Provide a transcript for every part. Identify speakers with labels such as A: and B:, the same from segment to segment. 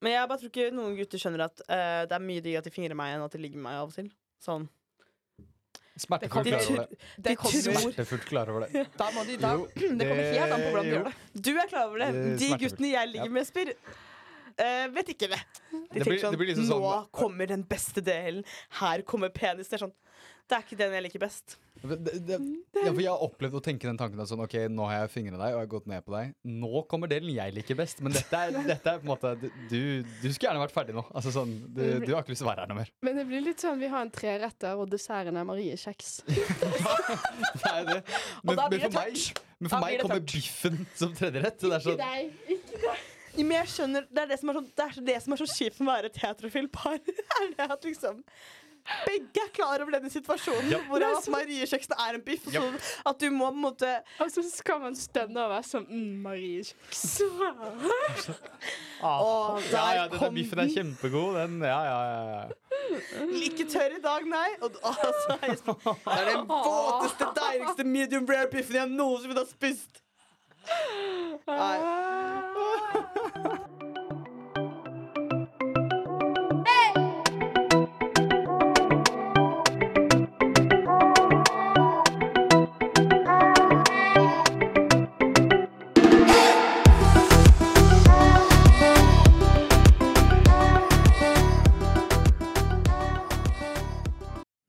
A: Men jeg bare tror ikke noen gutter skjønner at eh, det er mye diggere at de fingrer meg enn at de ligger med meg av og til. Sånn.
B: Smertefullt
A: De
B: klar over
A: tror,
B: det.
A: de
C: Det kommer,
A: tror
B: Smertefullt klar over det.
C: da må de, da,
B: Jo,
C: det kommer
B: det-
C: helt an på hvordan du
B: jo.
C: gjør det.
A: Du er klar over det.
B: Det er
A: De
B: smertefullt.
A: guttene jeg ligger med, spør eh, vet ikke det. De
B: Det blir-
A: tenker sånn
B: det blir liksom
A: Nå
B: sånn-
A: kommer den beste delen. Her kommer penis. Det er sånn Det er ikke den jeg liker best.
B: Det, det, ja, for jeg har opplevd å tenke den tanken at sånn, ok, nå har jeg fingra deg og jeg har gått ned på deg. Nå kommer delen jeg liker best, men dette er, dette er på en måte Du, du skulle gjerne vært ferdig nå. Altså sånn, du,
C: Mm.
B: du har ikke lyst til å være her noe mer.
D: Men det blir litt sånn vi har en treretter, og desserten er Marie-kjeks.
B: Det er det. Men,
C: da
B: men
C: blir det
B: for meg, men
C: Da
B: for
C: blir
B: meg
C: det
B: kommer biffen som tredjerett. Det er sånn,
A: Ja, Men jeg skjønner Det er det som er så, det er det som er så kjipt med å være et heterofilt par. Er det at liksom begge er klar over denne situasjonen,
B: Ja.
A: hvor at Marie-kjeksen er en biff. Og så at du må på en måte
D: Og så skal man stønne og være sånn mm, Marie-kjeks.
A: Å, der
B: ja, ja, denne
A: kom
B: biffen er kjempegod. Den, ja, ja, ja, ja.
A: Ikke tørr i dag, nei. Og, altså, jeg, det er den våteste, deiligste medium rare biffen jeg noensinne har spist. Nei.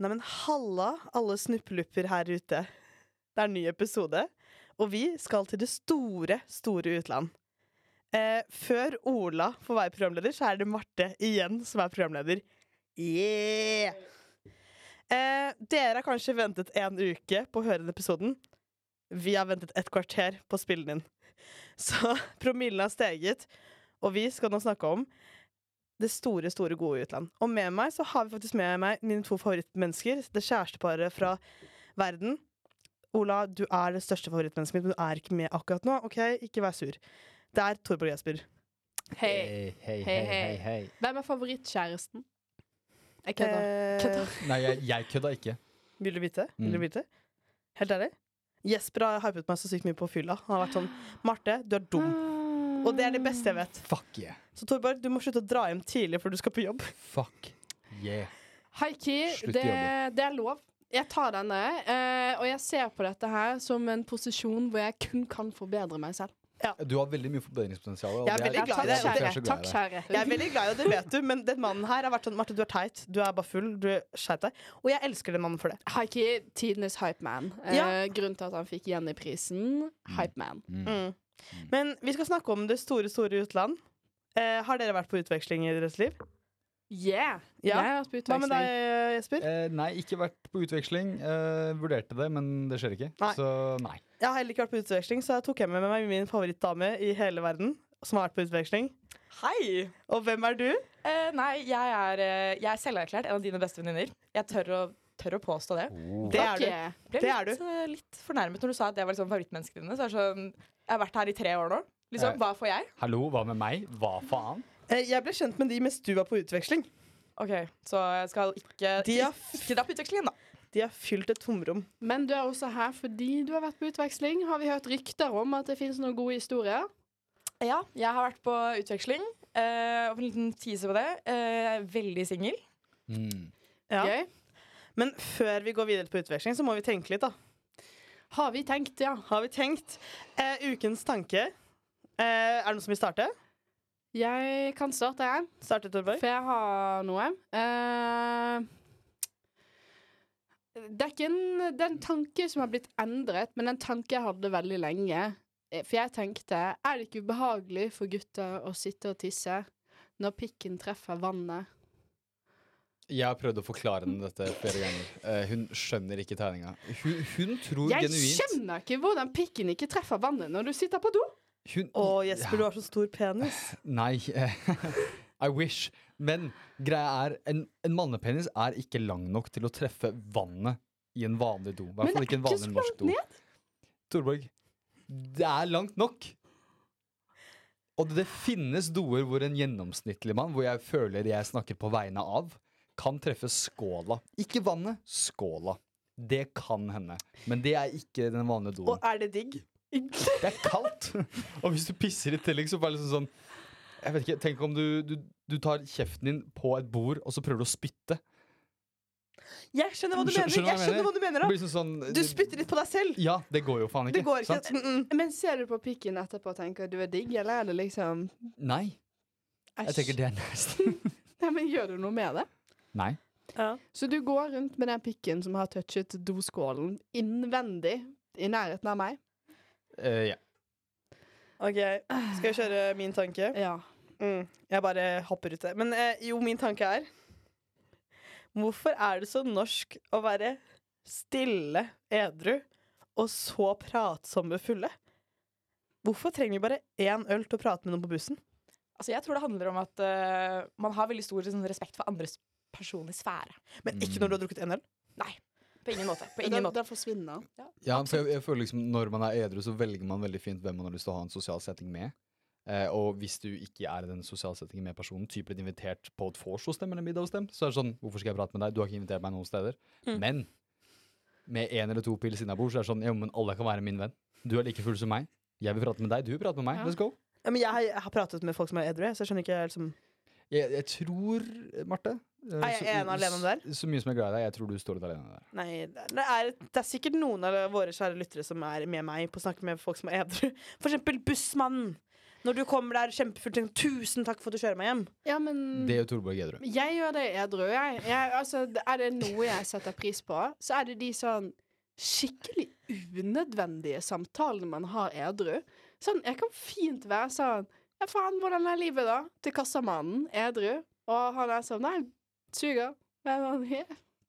A: Nei, men halla, alle snuppelupper her ute. Det er en ny episode, og vi skal til det store, store utland. Eh, før Ola får være programleder, så er det Marte igjen som er programleder. Yeah! Eh, dere har kanskje ventet en uke på å høre den episoden. Vi har ventet et kvarter på å spille den inn. Så promillen har steget, og vi skal nå snakke om det store, store gode utland. Og med meg så har vi faktisk med meg mine to favorittmennesker. Det kjæresteparet fra verden. Ola, du er det største favorittmennesket mitt, men du er ikke med akkurat nå. Ok, ikke vær sur. Det er Torborg Jesper.
D: Hei.
B: hei,
D: hei, hei, Hvem er favorittkjæresten? Jeg kødder.
A: Eh,
D: Kødder.
B: Nei, jeg, jeg kødda ikke.
A: vil du vite? Vil du
B: Mm.
A: vite? Helt ærlig? Jesper har hypet meg så sykt mye på fylla. Han har vært sånn Marte, du er dum. Og det er det beste jeg vet.
B: Fuck yeah.
A: Så Torborg, du må slutte å dra hjem tidlig før du skal på jobb.
B: Fuck yeah.
D: Haiki,
B: Slutt i
D: det, det er lov. Jeg tar denne, eh, og jeg ser på dette her som en posisjon hvor jeg kun kan forbedre meg selv.
B: Du har veldig mye forbedringspotensial. og
A: Jeg er
B: det
A: veldig
D: Ja,
A: glad i
D: takk,
A: det.
B: derfor jeg
D: kjære.
B: er så glad i
D: Takk,
B: det.
D: kjære.
A: Jeg er veldig glad i det, det vet du, men den mannen her har vært sånn Marte, du er teit. Du er bare full. Du er skjerp deg. Og jeg elsker den mannen for det.
D: Haiki, tidenes hypeman. Eh,
A: Ja.
D: Grunnen til at han fikk Jenny-prisen. Hypeman.
A: Mm. Men vi skal snakke om det store, store utland. Eh, har dere vært på utveksling i deres liv?
D: Yeah!
A: Ja.
D: Jeg har vært på
A: Hva med deg,
D: utveksling.
A: Jesper?
B: Eh, nei, ikke vært på utveksling. Eh, vurderte det, men det skjer ikke.
A: Nei.
B: Så nei.
A: Jeg har heller ikke vært på utveksling, så jeg tok hjemme med meg min favorittdame i hele verden. Som har vært på utveksling.
C: Hei!
A: Og hvem er du?
C: Eh, nei, jeg er, eh, jeg er selverklært en av dine beste venninner. Jeg tør å, tør å påstå det.
B: Oh.
A: Det er du.
D: Ok.
C: Ble
A: Det er
C: litt, eh, litt fornærmet når du sa at det var liksom favorittmennesket dine. Så er det sånn, jeg har vært her i tre år nå.
B: Eh.
C: Liksom, hva får jeg?
B: Hallo, hva med meg? Hva faen?
A: Eh, jeg ble kjent med de mens du var på utveksling.
C: Ok, Så jeg skal ikke,
A: De har-
C: ikke dra på utvekslingen, da.
A: De har fylt et tomrom.
D: Men du er også her fordi du har vært på utveksling. Har vi hørt rykter om at det finnes noen gode historier?
C: Ja, jeg har vært på utveksling. eh, og en liten teaser på det. Eh, veldig singel.
B: Hmm.
A: Ja.
D: Gøy.
A: Men før vi går videre på utveksling, så må vi tenke litt, da.
D: Har vi tenkt, ja.
A: Har vi tenkt? Eh, ukens tanke. Eh, er det noen som vil starte?
D: Jeg kan starte, jeg.
A: Starte, Torborg.
D: For jeg har noe. Eh, det er ikke en, det er en tanke som har blitt endret, men en tanke jeg hadde veldig lenge. Eh, For jeg tenkte er det ikke ubehagelig for gutter å sitte og tisse når pikken treffer vannet?
B: Jeg har prøvd å forklare henne dette flere ganger. Eh, hun skjønner ikke tegninga. Hun, hun tror
D: Jeg
B: genuint
D: skjønner ikke hvordan pikken ikke treffer vannet når du sitter på do!
B: hun,
A: Å, Jesper, du har så stor penis.
B: Nei. eh, I wish. Men greia er, en, en mannepenis er ikke lang nok til å treffe vannet i en vanlig do. I hvert
D: Men
B: fall
D: det
B: ikke en
D: er ikke så
B: vanlig norsk
D: langt
B: do.
D: ned.
B: Torborg, det er langt nok. Og det finnes doer hvor en gjennomsnittlig mann, hvor jeg føler jeg snakker på vegne av, kan treffe skåla. Ikke vannet, skåla. Det kan hende. Men det er ikke den vanlige doen.
A: Og er det digg?
B: Det er kaldt! Og hvis du pisser i tillegg, så bare liksom sånn Jeg vet ikke, Tenk om du, du, du tar kjeften din på et bord, og så prøver du å spytte.
A: Jeg skjønner hva du
B: Skjø-
A: mener!
B: skjønner hva
A: Jeg
B: jeg
A: skjønner
B: mener?
A: hva du mener
B: Det
A: da.
B: blir sånn, sånn
A: Du spytter litt på deg selv!
B: Ja, det går jo faen ikke.
A: Det går ikke. Mm,
B: sant?
A: Mm-mm.
D: Men ser du på pikken etterpå og tenker du er digg, eller er det liksom
B: Nei. Jeg tenker
D: Æsj.
B: det er nesten
D: Nei, men gjør du noe med det?
B: Nei.
D: Så du går rundt med den pikken som har touchet doskålen innvendig i nærheten av meg?
B: Eh, ja.
A: OK, skal jeg kjøre min tanke?
D: Ja.
A: Mm, jeg bare hopper ut det. Men eh, jo, min tanke er Hvorfor er det så norsk å være stille edru og så pratsomme fulle? Hvorfor trenger vi bare én øl til å prate med noen på bussen?
C: Altså, jeg tror det handler om at eh, man har veldig stor sånn, respekt for andres personlige sfære.
A: Men
B: Mm.
A: ikke når du har drukket én øl.
C: På ingen måte. På
D: Den,
C: ingen måte.
D: den forsvinner.
B: ja for jeg, jeg føler liksom Når man er edru, så velger man veldig fint hvem man har lyst til å ha en sosial setting med. Eh, og hvis du ikke er i den sosiale settingen med personen, typ blitt invitert på et vors hos dem eller en middag hos dem, så er det sånn Hvorfor skal jeg prate med deg? Du har ikke invitert meg noen steder.
A: Mm.
B: Men med én eller to pils innabords så er det sånn Jo, men alle kan være min venn. Du er like full som meg. Jeg vil prate med deg. Du vil prate med meg.
D: Ja.
B: Let's go.
A: Ja, Men jeg, har- jeg har pratet med folk som er edru, jeg, så jeg skjønner ikke liksom
B: Jeg, jeg tror, Marte eh,
A: Er jeg ene alene om det
B: Så, så mye som jeg er glad i deg, jeg tror du står litt alene der.
A: Nei, det er, det er sikkert noen av våre kjære lyttere som er med meg på å snakke med folk som er edru. For eksempel bussmannen. Når du kommer der kjempefull, tenker du, 'tusen takk for at du kjører meg hjem'.
D: Ja,
A: Mm.
D: men
B: Det gjør Torborg Edru.
D: Jeg gjør det edru. Jeg, jeg, altså, er det noe jeg setter pris på, så er det de sånn skikkelig unødvendige samtalene man har edru. Sånn, jeg kan fint være sånn Ja, faen, hvordan er livet, da? Til kassamannen, edru. Og han er sånn Nei, suger. Men han yeah,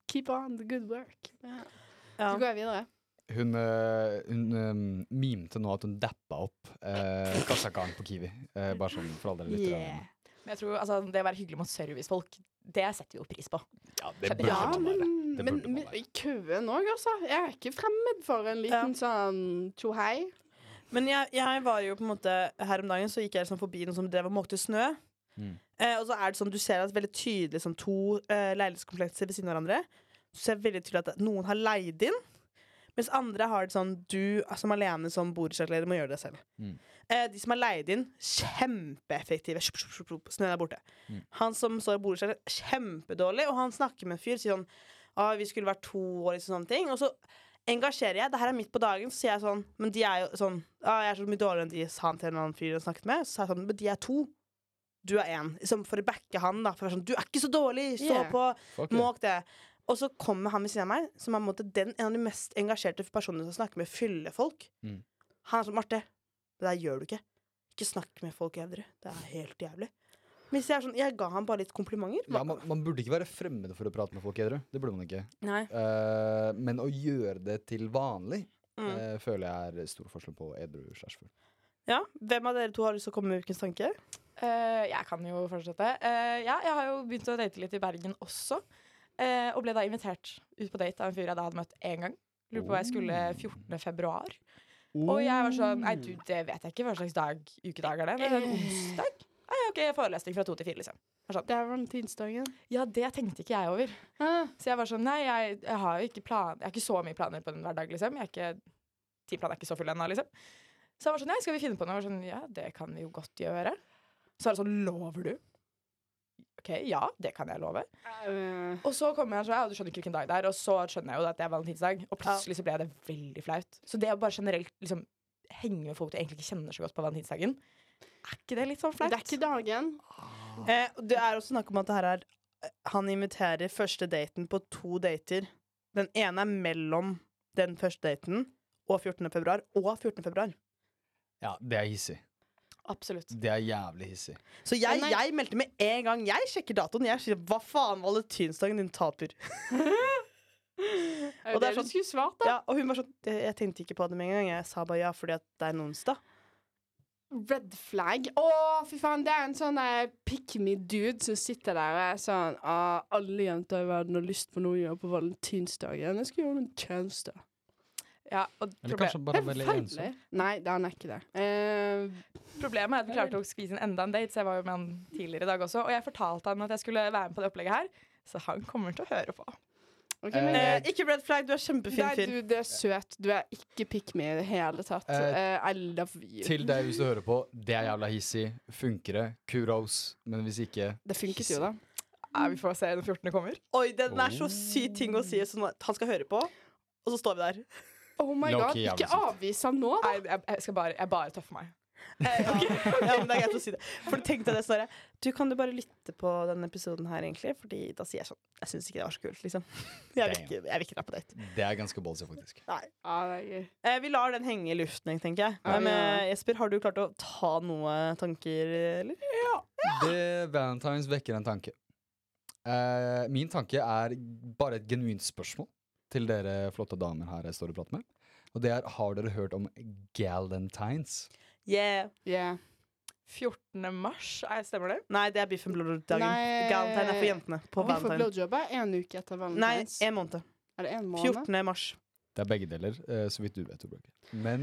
D: Keep on the good work. Så går jeg videre.
B: Hun, øh, hun øh, mimte nå at hun dappa opp øh, kassakaren på Kiwi. Eh, bare sånn for alle dere lyttere.
D: Yeah.
C: Men jeg tror altså, det å være hyggelig mot servicefolk, det setter vi jo pris på.
B: Ja, det
C: burde
D: Ja,
C: man
D: men,
B: Det
D: men,
B: burde man
D: men
B: være.
D: i køen òg, altså. Jeg er ikke fremmed for en liten sånn tjohei.
A: Men jeg, jeg var jo på en måte Her om dagen så gikk jeg liksom forbi noen som drev og måkte snø.
B: Mm.
A: Eh, og så er det sånn, du ser at veldig tydelig sånn, to eh, leilighetskomplekser ved siden av hverandre. Så ser jeg veldig tydelig at noen har leid inn, mens andre har det sånn Du som alene som borettslagsleder må gjøre det selv.
B: Mm.
A: Eh, de som har leid inn, kjempeeffektive. Shup, shup, shup, shup, Snøen er borte.
B: Mm.
A: Han som står i borettslaget, kjempedårlig, og han snakker med en fyr, sier sånn Å, vi skulle vært to år, liksom sånne ting. Og så engasjerer jeg. Det her er midt på dagen, så sier jeg sånn Men de er jo sånn Å, jeg er så mye dårligere enn de, sa han til en annen fyr jeg snakket med. Så sa jeg sånn Men de er to. Du er én. Liksom for å backe han, da. For å være sånn Du er ikke så dårlig! Stå
D: Yeah.
A: på!
B: Fuck it.
A: Måk det. Og så kommer han ved siden av meg, som er på en måte den, en av de mest engasjerte personene som snakker med fyllefolk.
B: Mm.
A: Han er sånn Marte, det der gjør du ikke. Ikke snakk med folk edru. Det er helt jævlig. Mens jeg er sånn Jeg ga han bare litt komplimenter.
B: ja, man, man burde ikke være fremmed for å prate med folk edru. Det burde man ikke.
A: Nei.
B: Eh, men å gjøre det til vanlig
A: Mm.
B: eh, føler jeg er stor forskjell på edru slash full.
A: Ja. Hvem av dere to har lyst til å komme med ukens tanke?
C: Eh, jeg kan jo fortsette. Eh, ja, jeg har jo begynt å date litt i Bergen også. eh, og ble da invitert ut på date av en fyr jeg da hadde møtt én gang. Lurte på hva jeg skulle 14. februar. Og jeg var sånn Nei, du, det vet jeg ikke. Hva slags dag, ukedag er det? Men sånn, onsdag? Nei, ok, forelesning fra to til fire, liksom.
D: Det er valentinsdagen.
C: Ja, det tenkte ikke jeg over.
D: Ah.
C: Så jeg var sånn Nei, jeg, jeg har jo ikke plan Jeg har ikke så mye planer på en hverdag, liksom. Jeg er ikke Timeplanen er ikke så full ennå, liksom. Så jeg var sånn Nei, skal vi finne på noe? Jeg var sånn, ja, det kan vi jo godt gjøre. Så er det sånn Lover du? OK, ja, det kan jeg love.
D: Eh,
C: Og så kommer jeg sånn, ja, du skjønner ikke hvilken dag det er, og så skjønner jeg jo at det er valentinsdag. Og plutselig så ble det veldig flaut. Så det å bare generelt liksom henge med folk du egentlig ikke kjenner så godt på valentinsdagen, er ikke det litt sånn
D: det
C: flaut?
D: er ikke dagen.
B: Ah.
A: Eh, det er også snakk om at det her er eh, Han inviterer første daten på to dater. Den ene er mellom den første daten og 14. februar. Og 14. februar.
B: Ja, det er hissig.
C: Absolutt.
B: Det er jævlig hissig.
A: Så jeg,
D: Nei.
A: jeg meldte med en gang. Jeg sjekker datoen. Jeg sier 'hva faen, valentinsdagen din taper'.
D: Og det er sånn skulle svart, da.
A: Ja, og hun var sånn «Det- Jeg tenkte ikke på det med en gang. Jeg sa bare ja fordi at det er en onsdag.
D: Red flag. Å, fy faen, det er en sånn eh, pick me dude som sitter der og er sånn Å, alle jenter i verden har lyst på noe å gjøre på valentinsdagen. Jeg skal gjøre en tjeneste.
C: Ja, og
B: Eller
C: problem,
B: kanskje
D: Det
B: bare
D: er
B: veldig
D: forferdelig.
B: ensom.
D: Nei, det er han ikke det. Eh,
C: problemet er at vi klarte å skvise inn enda en date, så jeg var jo med han tidligere i dag også, og jeg fortalte han at jeg skulle være med på det opplegget her, så han kommer til å høre på.
D: Ok,
B: Eh,
D: men
A: Eh,
D: jeg-
A: ikke red flag, du er kjempefin
D: Nei,
A: fyr.
D: du, du er søt. Du er ikke pick me i det hele tatt.
B: Eh,
D: Eh, I love you.
B: Til deg hvis du hører på, det er jævla hissig. Funker det? Kuros. Men hvis ikke
D: Det funket jo, da.
C: Nei, vi får se når 14. kommer.
A: Oi, den er så sykt ting å si som han skal høre på. Og så står vi der.
D: Oh my
B: Low-key
D: god,
B: jævlig
D: ikke
B: søt.
D: avvis ham nå, da.
C: Nei, jeg, jeg skal bare, jeg bare tøffer meg.
A: Eh, ok. ja, men det er greit å si det. For tenkte jeg det Snorre. Du kan du bare lytte på denne episoden her, egentlig. Fordi da sier jeg sånn Jeg syns ikke det var så kult, liksom. Jeg vil ikke, jeg vil ikke dra på date.
B: Det er ganske ballsy, faktisk.
D: Ja, det er gøy.
A: Eh, vi lar den henge i luften, jeg, tenker jeg.
D: Ja,
A: Men
D: ja.
A: eh, Jesper, har du klart å ta noen tanker, eller?
B: Det Valentines vekker en tanke. Eh, min tanke er bare et genuint spørsmål til dere flotte damer her jeg står og prater med. Og det er har dere hørt om galentines?
A: Yeah.
D: Yeah.
C: 14. mars, er, stemmer det?
A: Nei, det er biff and blod-dagen.
D: Nei.
A: Galentine er for jentene. På
D: Og vi får
A: Valentine.
D: blowjob en uke etter
A: Nei,
D: valentines.
A: en måned.
D: er det en måned?
A: 14. mars.
B: Det er begge deler, eh, så vidt du vet. Torbjørg. Men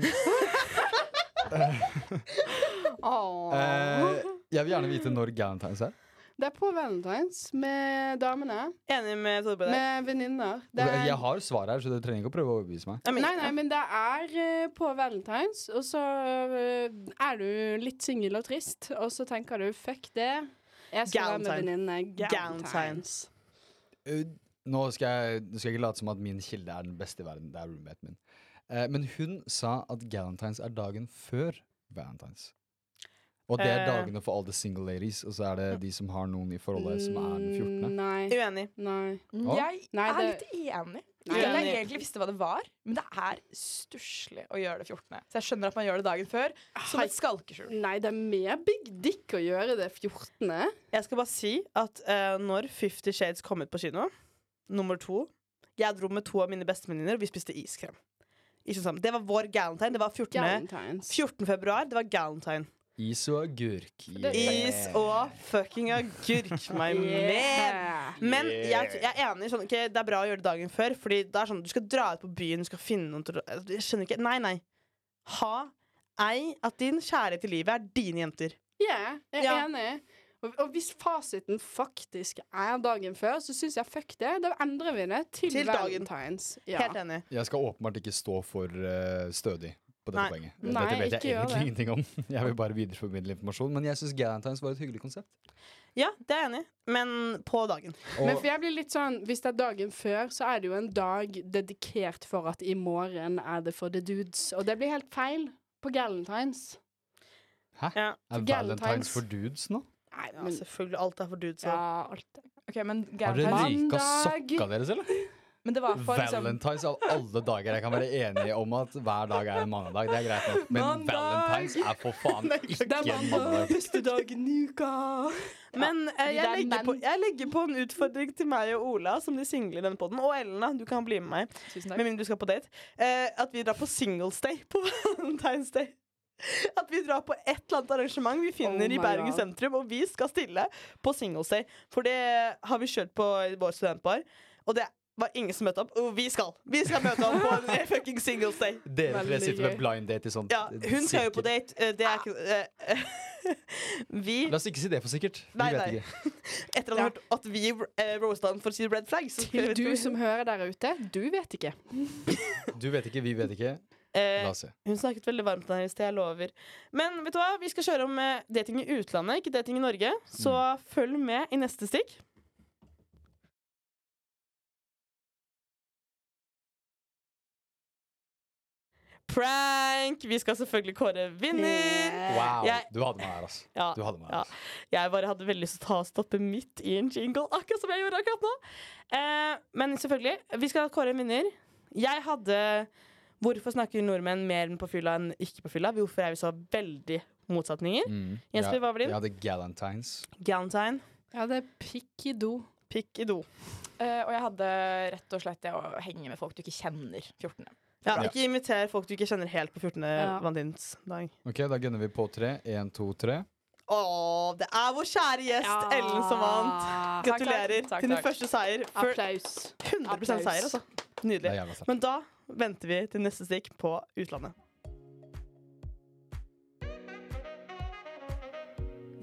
D: Åh.
B: eh, jeg vil gjerne vite når galentines er.
D: Det er på valentines med damene.
A: Enig med Torbjørn. der.
D: Med venninner. Det er-
B: Jeg har svar her, så dere trenger ikke å prøve å overbevise meg.
A: Jeg mener-
D: Nei, nei, men det er eh, på valentines, og så eh, er du litt singel og trist, og så tenker du fuck det. Jeg skal være med
A: Galentine.
D: venninnene. Galentines.
A: Galentines.
B: Eh, Nå skal jeg, nå skal jeg ikke late som at min kilde er den beste i verden. Det er roommaten min. Eh, men hun sa at galentines er dagen før valentines. Og det er
A: Eh.
B: dagene for alle single ladies, og så er det de som har noen i forholdet som er den 14.
D: Mm, Nei.
A: Uenig.
D: Nei.
B: Å?
C: Jeg
D: Mm. Nei,
C: er
D: det-
C: litt enig.
D: Nei,
C: jeg
A: Uenig.
C: ville egentlig visste hva det var, men det er stusslig å gjøre det 14. Så jeg skjønner at man gjør det dagen før, som et skalkeskjul.
D: Nei, det er mer big dick å gjøre det 14.
A: Jeg skal bare si at eh, når Fifty Shades kom ut på kino, nummer to Jeg dro med to av mine bestevenninner, og vi spiste iskrem. Ikke sant? Det var vår galentine. Det var 14.
D: Galentines.
A: 14. februar. Det var galentine.
B: Is og agurk.
D: Det-
B: Yeah.
A: Is og fucking agurk, my man.
D: Yeah.
A: Men jeg, jeg er enig. Sånn, ok, det er bra å gjøre det dagen før. Fordi det er sånn, Du skal dra ut på byen, du skal finne noen til å- Jeg skjønner ikke. Nei, nei. Ha ei at din kjærlighet i livet er dine jenter.
D: Yeah, jeg er
A: Ja.
D: enig. Og, og hvis fasiten faktisk er dagen før, så syns jeg fuck det. Da endrer vi det til,
A: Til dagen.
D: valentines. Ja.
A: Helt enig.
B: Jeg skal åpenbart ikke stå for eh, stødig på dette
A: Nei.
B: poenget.
D: Nei,
B: Dette vet jeg
D: ikke gjør
B: egentlig
D: det.
B: ingenting om. Jeg vil bare videreformidle informasjon. Men jeg syns galentines var et hyggelig konsept.
A: Ja, det er jeg enig i. Men på dagen.
D: Men
B: Og
D: for jeg blir litt sånn, Hvis det er dagen før, så er det jo en dag dedikert for at i morgen er det for the dudes. Og det blir helt feil på galentines.
A: Ja.
B: er
D: Galentines-
B: valentines for dudes nå?
D: Nei,
A: Ja, selvfølgelig. Alt er for dudes.
D: ja,
A: Ja.
D: alt det.
C: Ok, men,
B: Har dere
C: Galentine-
B: rika
D: Mandag.
B: sokka deres, eller?
C: men det var for liksom
B: Valentines av alle dager. Jeg kan være enig om at hver dag er en mandag. Det er greit nok. Men
D: Mandag!
B: Valentines er for faen ikke
D: Det er
B: en
D: mandag,
B: mandag.
D: beste dagen i uka.
A: Men eh,
C: de
A: jeg,
C: der
A: legger
C: menn.
A: på, jeg legger på en utfordring til meg og Ola, som de single i denne podden Og Elna, du kan bli med meg,
C: Tusen
A: med
C: takk.
A: mindre du skal på date. Eh, at vi drar på singles day på Valentine's Day. At vi drar på et eller annet arrangement vi finner
D: Oh my
A: i Bergen
D: God.
A: sentrum, og vi skal stille på singles day. For det har vi kjørt på i vår studentbar, og det var ingen som møtte opp. Og vi skal! Vi skal møte opp på en fucking singles day.
B: Dere tre
D: Veldig
B: sitter
D: gøy.
B: med blind date i sånn sånt
A: Ja, hun skal jo på
B: sikkert.
A: date. eh, Det er ikke eh, Vi
B: La oss ikke si det for sikkert. Vi
A: Nei,
B: vet
A: nei.
B: ikke.
A: Etter å ha hørt at vi eh, roasta han for å si red flag, så
D: Til du som hører der ute, du vet ikke.
B: Du vet ikke, vi vet ikke.
A: Eh,
B: La oss se.
A: Hun snakket veldig varmt om det her i sted, jeg lover. Men vet du hva, vi skal kjøre om eh, dating i utlandet, ikke dating i Norge. Så følg med i neste stikk. Prank! Vi skal selvfølgelig kåre vinner.
B: Wow,
A: eh, Jeg-
B: du hadde meg her, altså.
A: Ja,
B: Du hadde meg her,
A: ja.
B: ass.
A: Jeg bare hadde veldig lyst til å ta stoppe midt i en jingle, akkurat som jeg gjorde akkurat nå. Eh, men selvfølgelig, vi skal kåre en vinner. Jeg hadde Hvorfor snakker nordmenn mer på fylla enn ikke på fylla? Hvorfor er vi så veldig motsetninger?
B: Mm.
A: Jesper,
B: Ja,
A: hva var din?
B: Jeg hadde galentines.
A: Galentine,
D: Ja, det er pikk i do.
A: pikk i do.
C: Eh, og jeg hadde rett og slett det å henge med folk du ikke kjenner. 14.
A: Ja,
B: Ja.
A: ikke inviter folk du ikke kjenner helt på 14.
D: Ja.
A: valentinsdag.
B: Ok, da gunner vi på tre. Én, to, tre.
A: Å, det er vår kjære gjest Ellen som vant.
C: takk.
A: Gratulerer
C: Takk,
A: til din
C: takk.
A: første seier. For
D: Applaus.
A: 100 seier,
D: Applaus.
A: altså.
B: Det
A: Nydelig.
B: er jævla sterkt.
A: Men da venter vi til neste stikk på utlandet.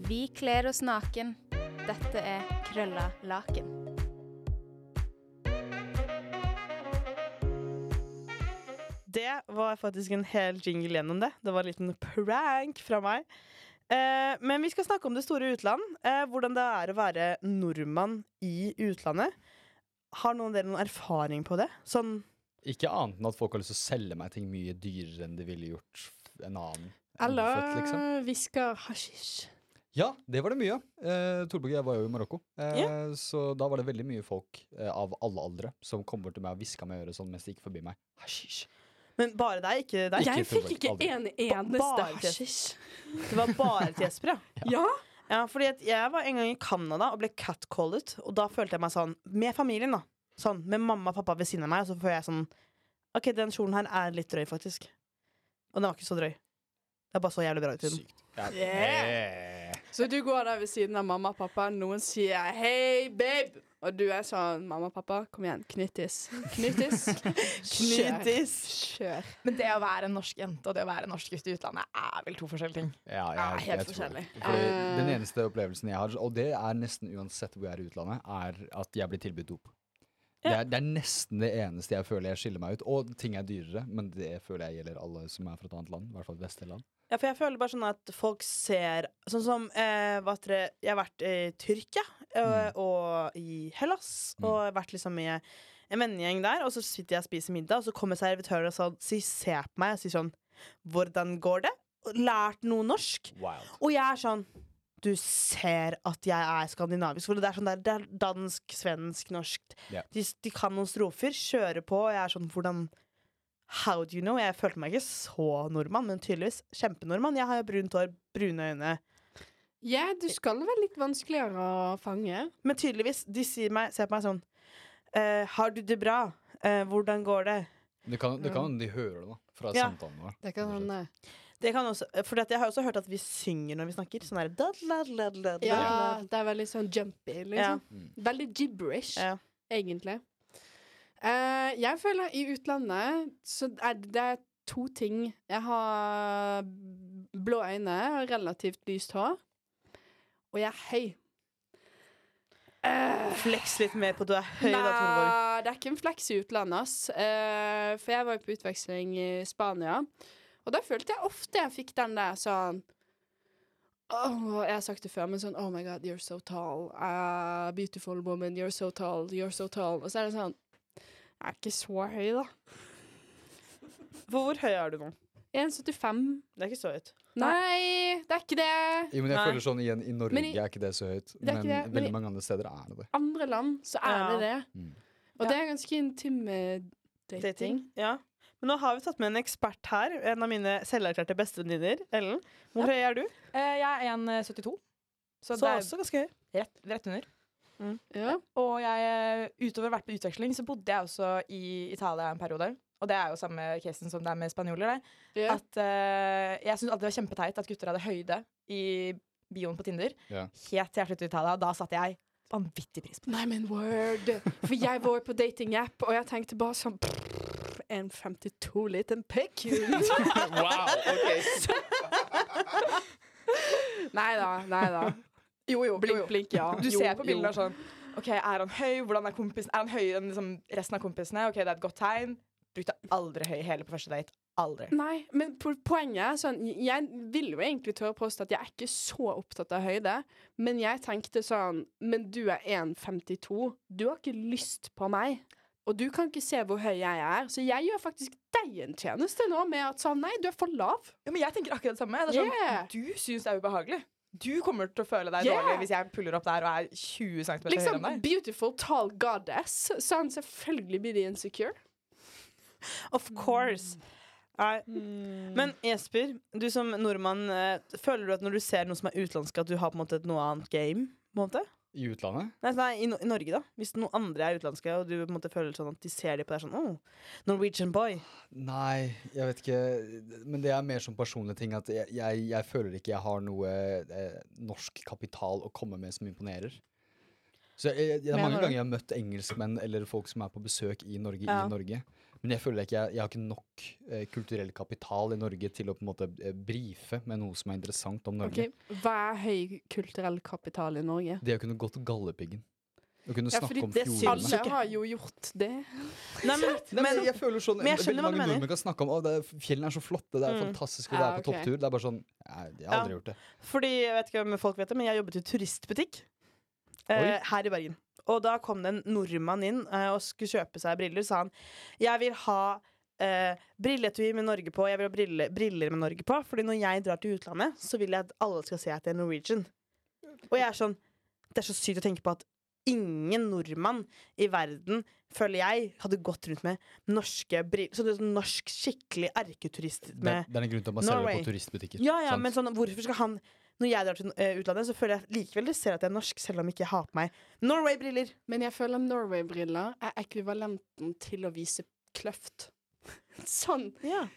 E: Vi kler oss naken. Dette er krølla laken.
A: Det var faktisk en hel jingle gjennom det. Det var en liten prank fra meg. Eh, men vi skal snakke om det store utland. Eh, hvordan det er å være nordmann i utlandet. Har noen av dere noen erfaring på det? Sånn
B: Ikke annet enn at folk har lyst til å selge meg ting mye dyrere enn de ville gjort f- en annen.
D: Eller
B: født, liksom.
D: hvisker hasjisj.
B: Ja, det var det mye av. Eh, Torbjørg, jeg var jo i Marokko, eh, så da var det veldig mye folk eh, av alle aldre som kom bort til meg og hviska meg i øret sånn mens de gikk forbi meg. Hashish.
A: Men bare deg, ikke deg.
B: Ikke
D: Jeg fikk
B: fullt,
D: ikke
B: aldri.
D: en
A: Bare
D: eneste
A: til-
D: hasjisj.
A: Det var bare til Jesper, ja.
D: Ja?
A: ja fordi at jeg var en gang i Canada og ble catcallet. Og da følte jeg meg sånn Med familien, da. Sånn, Med mamma og pappa ved siden av meg. Og så får jeg sånn OK, den kjolen her er litt drøy, faktisk. Og den var ikke så drøy. Det bare så jævlig bra ut i den.
B: Sykt. Ja. Eh,
D: Yeah. Så du går der ved siden av mamma og pappa, noen sier 'hei, babe', og du er sånn 'mamma og pappa, kom igjen, knyttis'. Knyttis. Kjør.
A: Knytis.
D: Kjør.
C: Men det å være en norsk jente og det å være en norsk gutt i utlandet er vel to forskjellige ting.
B: Ja, jeg,
D: Ah, helt
B: jeg tror det.
D: forskjellig.
B: Fordi
D: Eh.
B: den eneste opplevelsen jeg har, og det er nesten uansett hvor jeg er i utlandet, er at jeg blir tilbudt dop. Det,
A: Ja.
B: er, det er nesten det eneste jeg føler jeg skiller meg ut. Og ting er dyrere, men det føler jeg gjelder alle som er fra et annet land. I hvert fall vestlige land.
A: Ja, for jeg føler bare sånn at folk ser Sånn som eh, hva heter det Jeg har vært i Tyrkia eh, og i Hellas, og jeg har vært liksom i en vennegjeng der, og så sitter jeg og spiser middag, og så kommer servitøren og sånn, sier se på meg og sier sånn 'Hvordan går det?' Og Lært noe norsk?
B: Wild.
A: Og jeg er sånn Du ser at jeg er skandinavisk. For det er sånn der, det er dansk, svensk, norsk.
B: Ja.
A: De, de kan noen strofer, kjører på, og jeg er sånn Hvordan How do you know? Jeg følte meg ikke så nordmann, men tydeligvis kjempenordmann. Jeg har jo brunt hår, brune øyne.
D: Ja, du skal være litt vanskeligere å fange.
A: Men tydeligvis, de sier meg, ser på meg sånn eh, Har du det bra? Eh, hvordan går det?
B: Det kan det kan hende de hører det da, fra
A: Ja.
B: samtalen vår.
D: Det sånn, kan hende.
A: Det kan også, for jeg har også hørt at vi synger når vi snakker. Sånn der da, da, da, da, da,
D: Ja, det er veldig sånn jumpy, liksom.
B: Ja. Mm.
D: Veldig gibberish,
A: Ja.
D: egentlig. Eh, jeg føler i utlandet så er det, det er to ting. Jeg har blå øyne og relativt lyst hår. Og jeg er høy. Eh,
A: Flex litt mer på at du er høy,
D: Nei,
A: da, Torborg.
D: det er ikke en fleks i utlandet, ass. Eh, for jeg var jo på utveksling i Spania, og da følte jeg ofte jeg fikk den der sånn «Åh», jeg har sagt det før, men sånn Oh my god, you're so tall. Eh, beautiful woman, you're so tall, you're so tall. Og så er det sånn Jeg er ikke så høy, da.
A: For hvor høy er du nå?
D: 1,75.
A: Det er ikke så høyt.
D: Nei, det er ikke det.
B: Jo, men jeg
A: Nei.
B: føler sånn igjen, I Norge
D: Men i-
B: er ikke det så høyt,
D: er
B: men
D: ikke det, men
B: veldig
D: i-
B: mange andre steder er det det.
D: Andre land, så er
A: Ja.
D: det det.
B: Mm.
D: Og
C: Ja.
D: det er ganske intime dating.
A: Dating. Ja. Men nå har vi tatt med en ekspert her. En av mine selverklærte bestevenninner. Ellen. Hvor høy er du?
C: Eh, jeg er 1,72, så,
A: Så
C: det er
A: også ganske høy.
C: rett, rett under.
D: Ja.
C: Og jeg, eh, utover å ha vært på utveksling, så bodde jeg også i Italia en periode. Og det er jo samme casen som det er med spanjoler. Det.
D: Ja.
C: At eh, Jeg syntes alltid det var kjempeteit at gutter hadde høyde i bioen på Tinder.
B: Ja.
C: Helt til jeg flyttet til Italia, og da satte jeg vanvittig pris på det.
D: Nei, men word! For jeg var jo på datingapp, og jeg tenkte bare sånn pff, En 52 liten pikk!
B: wow, ok.
D: Nei da, nei da.
C: Jo, jo,
D: Blink,
C: jo, jo.
D: blink, ja.
C: Du
D: Jo,
C: ser på
D: jo.
C: bilder sånn OK, er han høy? Hvordan er kompisen? Er han høyere enn liksom, resten av kompisene? OK, det er et godt tegn. Brukte aldri høy hele på første date. Aldri.
D: Nei, men po- poenget er sånn Jeg vil jo egentlig tørre å påstå at jeg er ikke så opptatt av høyde, men jeg tenkte sånn Men du er 1,52. Du har ikke lyst på meg. Og du kan ikke se hvor høy jeg er, så jeg gjør faktisk deg en tjeneste nå med at sånn Nei, du er for lav.
C: Ja, men jeg tenker akkurat det samme. Det er sånn,
D: Yeah.
C: Du syns det er ubehagelig. Du kommer til å føle deg
D: Yeah.
C: dårlig hvis jeg puller opp der og er 20 cm høyere enn
D: Liksom
C: deg.
D: beautiful, tall goddess. Sånn, selvfølgelig blir de insecure.
A: Of course. Nei. Men Jesper, du som nordmann, eh, føler du at når du ser noe som er utenlandsk, at du har på en måte et noe annet game? På en måte?
B: I utlandet?
A: Nei, nei i, no I Norge, da. Hvis noen andre er utenlandske, og du på en måte føler sånn at de ser det på deg sånn oh, Norwegian boy.
B: Nei, jeg vet ikke. Men det er mer som personlige ting. At jeg, jeg, jeg føler ikke jeg har noe eh, norsk kapital å komme med som imponerer. Så jeg, jeg, Det er
A: Mener
B: mange
A: du?
B: ganger jeg har møtt engelskmenn eller folk som er på besøk i Norge,
A: Ja.
B: i Norge. Men jeg føler ikke jeg, jeg har ikke nok eh, kulturell kapital i Norge til å på en måte eh, brife med noe som er interessant om Norge.
D: Ok, Hva er høy kulturell kapital i Norge?
B: Det å kunne gå til Galdhøpiggen. Å kunne
A: Ja,
B: snakke
A: fordi
B: om
A: det syns
B: fjordene.
A: ikke.
D: Alle har jo gjort det.
A: Nei, men,
B: Nei, men,
A: men-
B: jeg føler sånn,
A: men jeg skjønner hva du
B: veldig mange
A: mener.
B: nordmenn kan snakke om at fjellene er så flotte, det er
A: Mm.
B: fantastisk å
D: Ja,
B: være på
D: ok.
B: topptur. Det er bare sånn Nei, jeg har aldri gjort det.
A: Fordi, jeg vet ikke om folk vet det, men jeg jobbet i turistbutikk eh,
B: Oi.
A: her i Bergen. Og da kom det en nordmann inn eh, og skulle kjøpe seg briller. Sa han jeg vil ha eh, brilletui med Norge på, jeg vil ha brille, briller med Norge på. Fordi når jeg drar til utlandet, så vil jeg at alle skal se at jeg er Norwegian. Og jeg er sånn Det er så sykt å tenke på at ingen nordmann i verden, føler jeg, hadde gått rundt med norske briller. Sånn sånn norsk, skikkelig erketurist
B: Det,
A: med
B: det er en grunn til at man selger det
A: Norway.
B: på turistbutikker.
A: ja, ja,
B: sant?
A: men sånn, hvorfor skal han Når jeg drar til eh, utlandet, så føler jeg likevel det ser at jeg er norsk, selv om ikke jeg har på meg Norway-briller.
D: Men jeg føler Norway-briller er ekvivalenten til å vise kløft. Sånn.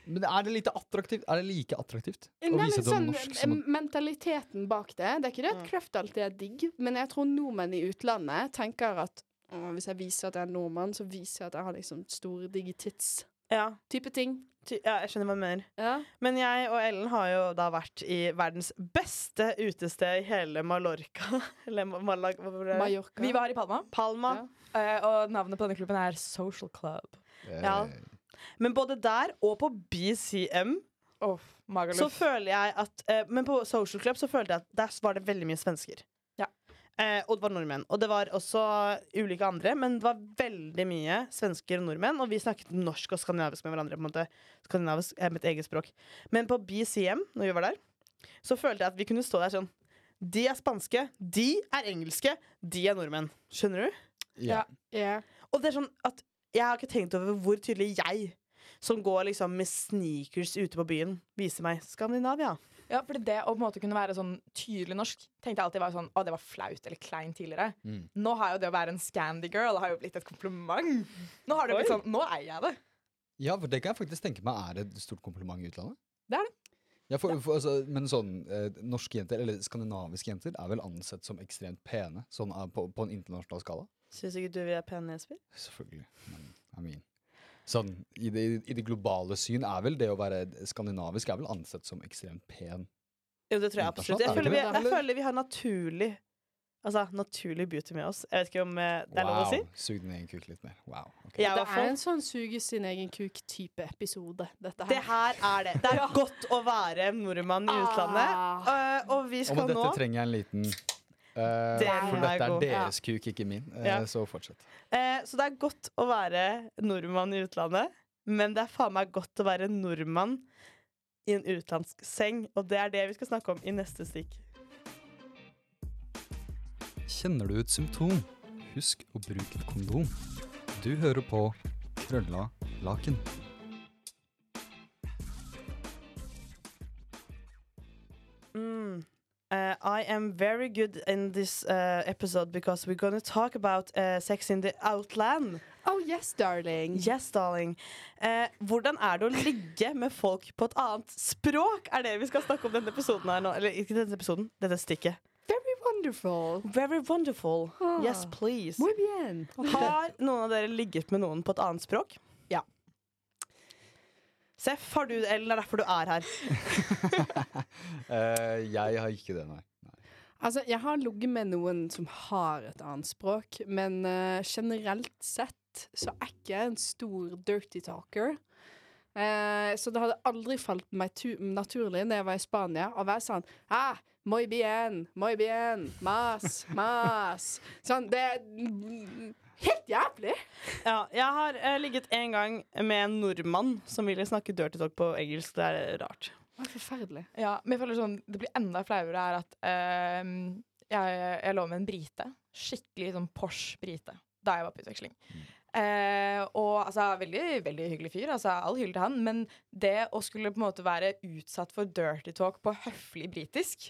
B: Men er det lite attraktivt? Er det like attraktivt å vise
D: Nei, men
B: til
D: sånn
B: norsk som
D: eh, mentaliteten bak det. Det er ikke det at
A: Mm.
D: kløft alltid er digg, men jeg tror nordmenn i utlandet tenker at «Åh, hvis jeg viser at jeg er nordmann, så viser jeg at jeg har liksom store, digge tits-type
A: Ja,
D: ting.
A: ty ja, jeg skjønner hva du mener.
D: Ja.
A: Men jeg og Ellen har jo da vært i verdens beste utested i hele Mallorca. Eller Ma- Malag... Hva var det?
D: Mallorca.
C: Vi var i Palma,
A: Palma.
D: Ja.
C: eh, og navnet på denne klubben er Social Club.
B: eh,
A: ja. Men både der og på BCM
C: Oh,
A: så
C: Magaluf.
A: føler jeg at eh, Men på Social Club så følte jeg at der var det veldig mye svensker.
C: Ja.
A: Eh, og det var nordmenn. Og det var også ulike andre, men det var veldig mye svensker og nordmenn. Og vi snakket norsk og skandinavisk med hverandre. på en måte Skandinavisk er mitt eget språk. Men på BCM, når vi var der, så følte jeg at vi kunne stå der sånn De er spanske, de er engelske, de er nordmenn. Skjønner du?
B: ja.
D: Ja.
A: Og det er sånn at jeg har ikke tenkt over hvor tydelig jeg, som går liksom med sneakers ute på byen, viser meg Skandinavia.
C: Ja, fordi det å på en måte kunne være sånn tydelig norsk tenkte jeg alltid var sånn Å, det var flaut eller kleint tidligere.
B: Mm.
C: Nå har jo det å være en Scandy-girl har jo blitt et kompliment. Nå har det jo blitt
A: Oi.
C: sånn Nå eier jeg det.
B: ja, for det kan jeg faktisk tenke meg er et stort kompliment i utlandet.
C: Det er
B: Ja, for, for, altså, men sånn, eh, norske jenter, eller skandinaviske jenter, er vel ansett som ekstremt pene, sånn eh, på, på en internasjonal skala.
A: Syns ikke du vi er pene, Jesper?
B: Selvfølgelig. Men I mean Sånn, i det, I det globale syn er vel det å være skandinavisk er vel ansett som ekstremt pen.
A: Jo, det tror jeg absolutt. Jeg
B: Internasjonalt,
A: føler vi,
B: er det det?
A: jeg føler vi har naturlig Altså, naturlig beauty med oss. Jeg vet ikke om eh, det er lov å si.
B: Sug den egen kuk litt mer. Wow. ok.
A: Jeg, i
D: Det
A: hvert fall.
D: er en sånn suge sin egen kuk-type episode, dette
A: Det
D: her.
A: her er det. Det er godt å være nordmann i utlandet.
D: Ah.
A: Eh, og vi
B: Og
A: skal
B: med
A: nå
B: dette trenger jeg en liten eh,
A: Delen
B: For
A: er
B: dette er
A: god.
B: deres kuk, ikke min. Eh,
A: Ja.
B: Så fortsett.
A: eh, Så det er godt å være nordmann i utlandet, men det er faen meg godt å være nordmann i en utenlandsk seng. Og det er det vi skal snakke om i neste stikk.
B: Kjenner du et symptom? Husk å bruke et kondom. Du hører på Krølla laken.
A: Mm. Uh, I am very good in this uh, episode because we're gonna talk about uh, sex in the outland.
D: Oh yes, darling.
A: Yes, darling. Eh, hvordan er det å ligge med folk på et annet språk? Er det vi skal snakke om denne episoden her nå? Eller ikke denne episoden, dette stikket.
D: Very wonderful.
A: Very wonderful.
D: Ah.
A: Yes, please.
D: Muy bien.
A: Har noen av dere ligget med noen på et annet språk?
D: Ja.
A: Seff, har du Ellen, det er derfor du er her.
B: Eh, jeg har ikke det, nei.
D: Altså, jeg har ligget med noen som har et annet språk, men eh, generelt sett så er ikke jeg en stor dirty talker. Eh, så det hadde aldri falt meg tu naturlig når jeg var i Spania, å være sånn ah, Muy bien, muy bien, mas, mas. Sånn, det er mm, helt jævlig.
A: Ja, jeg har eh, ligget en gang med en nordmann som ville snakke dirty talk på engelsk. Det er rart.
D: Det er forferdelig.
C: Ja, men jeg føler sånn, det blir enda flauere er at ehm, jeg, jeg lå med en brite. Skikkelig sånn Porsche-brite da jeg var på utveksling. Eh, og altså, veldig, veldig hyggelig fyr. Altså, all hylle til han. Men det å skulle på en måte være utsatt for dirty talk på høflig britisk,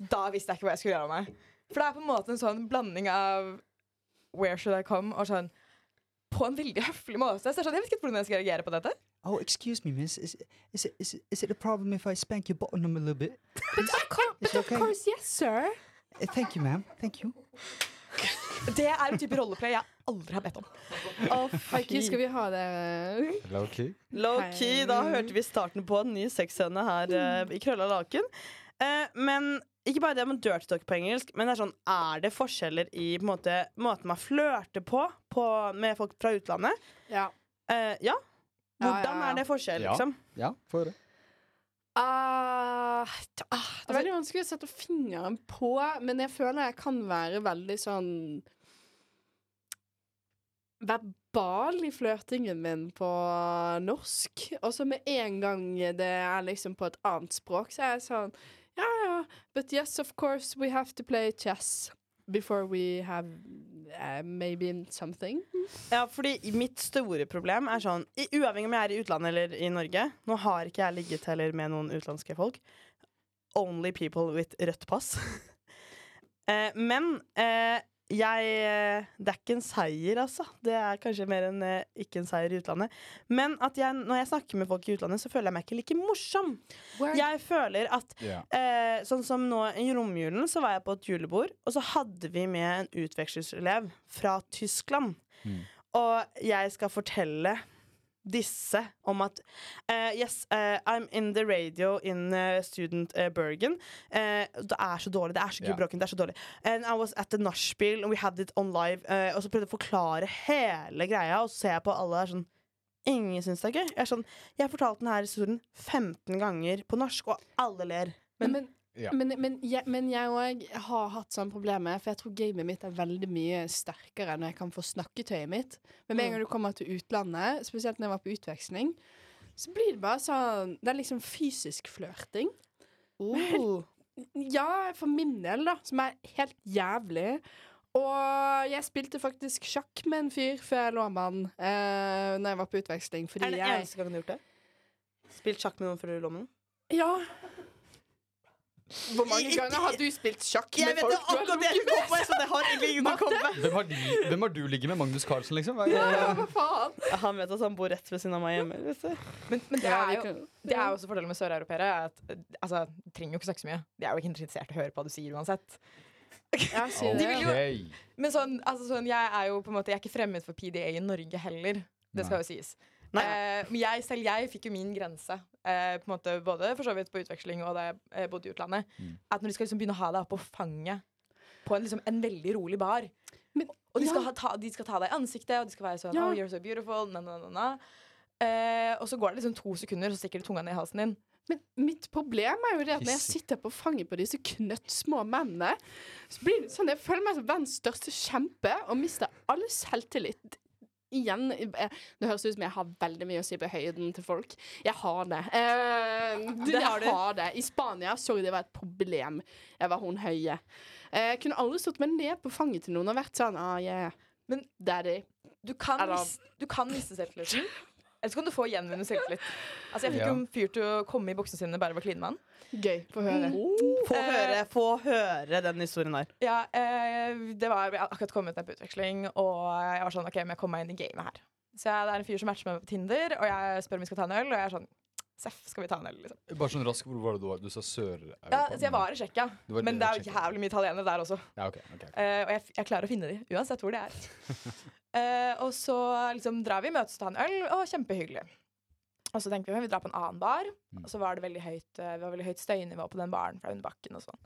C: da visste jeg ikke hva jeg skulle gjøre av meg. For det er på en måte en sånn blanding av where should I come og sånn på en veldig høflig måte. Så jeg, er sånn, jeg vet ikke hvordan jeg skal reagere på dette.
B: Oh, excuse me, miss. Is, is, is, is it a problem if I spank your bottom a little bit? But
D: Of course, yes, sir.
B: Thank you, ma'am. Thank you.
C: Det er en type rolleplay jeg aldri har bedt om.
D: Haiku, skal vi ha det?
A: Low key, da hørte vi starten på en ny sexscene her eh, i Krølla laken. Eh, men Ikke bare det med dirty talk på engelsk, men det er sånn Er det forskjeller i på en måte, måten man flørter på, på med folk fra utlandet?
D: Ja.
A: Eh, ja.
D: Ja, ja,
A: Hvordan
D: ja.
A: er det forskjell,
B: Ja.
A: liksom?
B: Ja, få høre.
D: Ah, t- ah, det er
A: Altså-
D: veldig vanskelig å sette fingeren på, men jeg føler jeg kan være veldig sånn Verbal i flørtingen min på norsk. Og så med en gang det er liksom på et annet språk, så er jeg sånn Ja, ja, but yes, of course, we have to play chess before we have eh, maybe something.
A: Ja, fordi mitt store problem er sånn i- Uavhengig om jeg er i utlandet eller i Norge Nå har ikke jeg ligget heller med noen utenlandske folk Only people with rødt pass eh, Men eh, jeg, eh, det er ikke en seier altså Det er kanskje mer enn eh, ikke en seier i utlandet Men at jeg, når jeg snakker med folk i utlandet Så føler jeg meg ikke like morsom Jeg føler at Eh, sånn som nå i romjulen så var jeg på et julebord, og så hadde vi med en utvekslingselev fra Tyskland.
B: Mm.
A: Og jeg skal fortelle disse om at eh, Yes, eh, I'm in the radio in eh, student eh, Bergen. Eh, det er så dårlig. Det er så
B: Ja.
A: gudbråken. Det er så dårlig. And I was at the nachspiel, and we had it on live. eh, og så prøvde jeg å forklare hele greia, og så ser jeg på alle er sånn Ingen syns det er gøy. Jeg, er sånn, jeg har fortalt denne historien 15 ganger på norsk, og alle ler.
D: Men, men,
B: Ja.
D: men, men, jeg, men jeg òg har hatt sånne problemer, for jeg tror gamet mitt er veldig mye sterkere når jeg kan få snakketøyet mitt.
A: Mm.
D: Men med en gang du kommer til utlandet, spesielt når jeg var på utveksling, så blir det bare sånn Det er liksom fysisk flørting.
A: Oh.
D: Ja, for min del, da, som er helt jævlig. Og jeg spilte faktisk sjakk med en fyr før jeg lå med han eh, når jeg var på utveksling. Fordi
A: Er det
D: jeg
A: eneste gangen du har gjort det? Spilt sjakk med noen før du lå med noen?
D: Ja. Hvor mange ganger har du spilt sjakk med folk? du har ligget med?
A: kom på! Så det har egentlig ingen å komme med.
B: Hvem har, de, hvem har du ligget med? Magnus Carlsen, liksom? Hva-
D: Ja, hva faen?
A: Han vet at han bor rett ved siden av meg hjemme. vet du.
C: Men, men det, er jo,
D: jo
C: det er jo også fordelen med søreuropeere. er at, eh, Altså, de trenger jo ikke snakke så mye. De er jo ikke interessert i å høre på hva du sier uansett.
D: Jeg sier
C: De vil
D: det.
C: jo-
B: Ok.
C: Men sånn, altså, sånn, jeg er jo på en måte Jeg er ikke fremmed for PDA i Norge heller. Det skal jo sies.
A: Nei.
C: Eh, men jeg, selv jeg fikk jo min grense, eh, på en måte, både for så vidt på utveksling og da jeg eh, bodde i utlandet.
B: Mm.
C: At når de skal liksom begynne å ha deg opp på fanget på en, liksom, en veldig rolig bar
D: Men-
C: Og de skal,
D: ja.
C: ha, ta, de skal ta deg i ansiktet, og de skal være sånn
D: Ja.
C: Oh, you're so beautiful, na, na, na, na. Eh, og så går det liksom to sekunder, så stikker de tunga ned i halsen din.
D: Men mitt problem er jo det at når jeg
B: Hissig.
D: sitter på fanget på disse knøttsmå mennene, så blir det sånn jeg føler meg som verdens største kjempe og mister all selvtillit. Igjen eh, Det høres ut som jeg har veldig mye å si på høyden til folk. Jeg har det. Eh, du,
C: Det har du.
D: jeg har det. I Spania sorry, det var et problem. Jeg var hun høye. Eh, jeg kunne aldri stått meg ned på fanget til noen og vært sånn ah, yeah,
C: Men-
D: daddy.
C: Du kan,
D: Eller-
C: mis- du kan miste selvtilliten. Eller så kan du få gjenvunnet selvtillit. Altså, jeg fikk
B: Ja.
C: jo en fyr til å komme i buksene sine bare ved å kline med han.
D: Gøy. Få høre.
A: Få
C: Eh.
A: høre, få høre den historien der.
C: Ja, eh, det var, jeg hadde akkurat kommet ned på utveksling, og jeg var sånn OK, men jeg kommer meg inn i gamet her. Så jeg, det er en fyr som matcher meg på Tinder, og jeg spør om vi skal ta en øl, og jeg er sånn Seff, skal vi ta en øl, liksom.
B: Bare sånn rask, hvor var det du var? Du sa Sør-Europa?
C: Ja, så jeg var i Tsjekkia,
B: Du var i
C: men det er jo
B: Tsjekkia.
C: jævlig mye italienere der også.
B: Ja, ok, ok, ok.
C: Eh, og jeg, f- jeg klarer å finne de, uansett hvor de er. Eh, og så liksom drar vi, møtes, tar en øl, og kjempehyggelig. Og så tenkte vi vi drar på en annen bar, og så var det veldig høyt, eh, det var veldig høyt støynivå på den baren fra under bakken og sånn.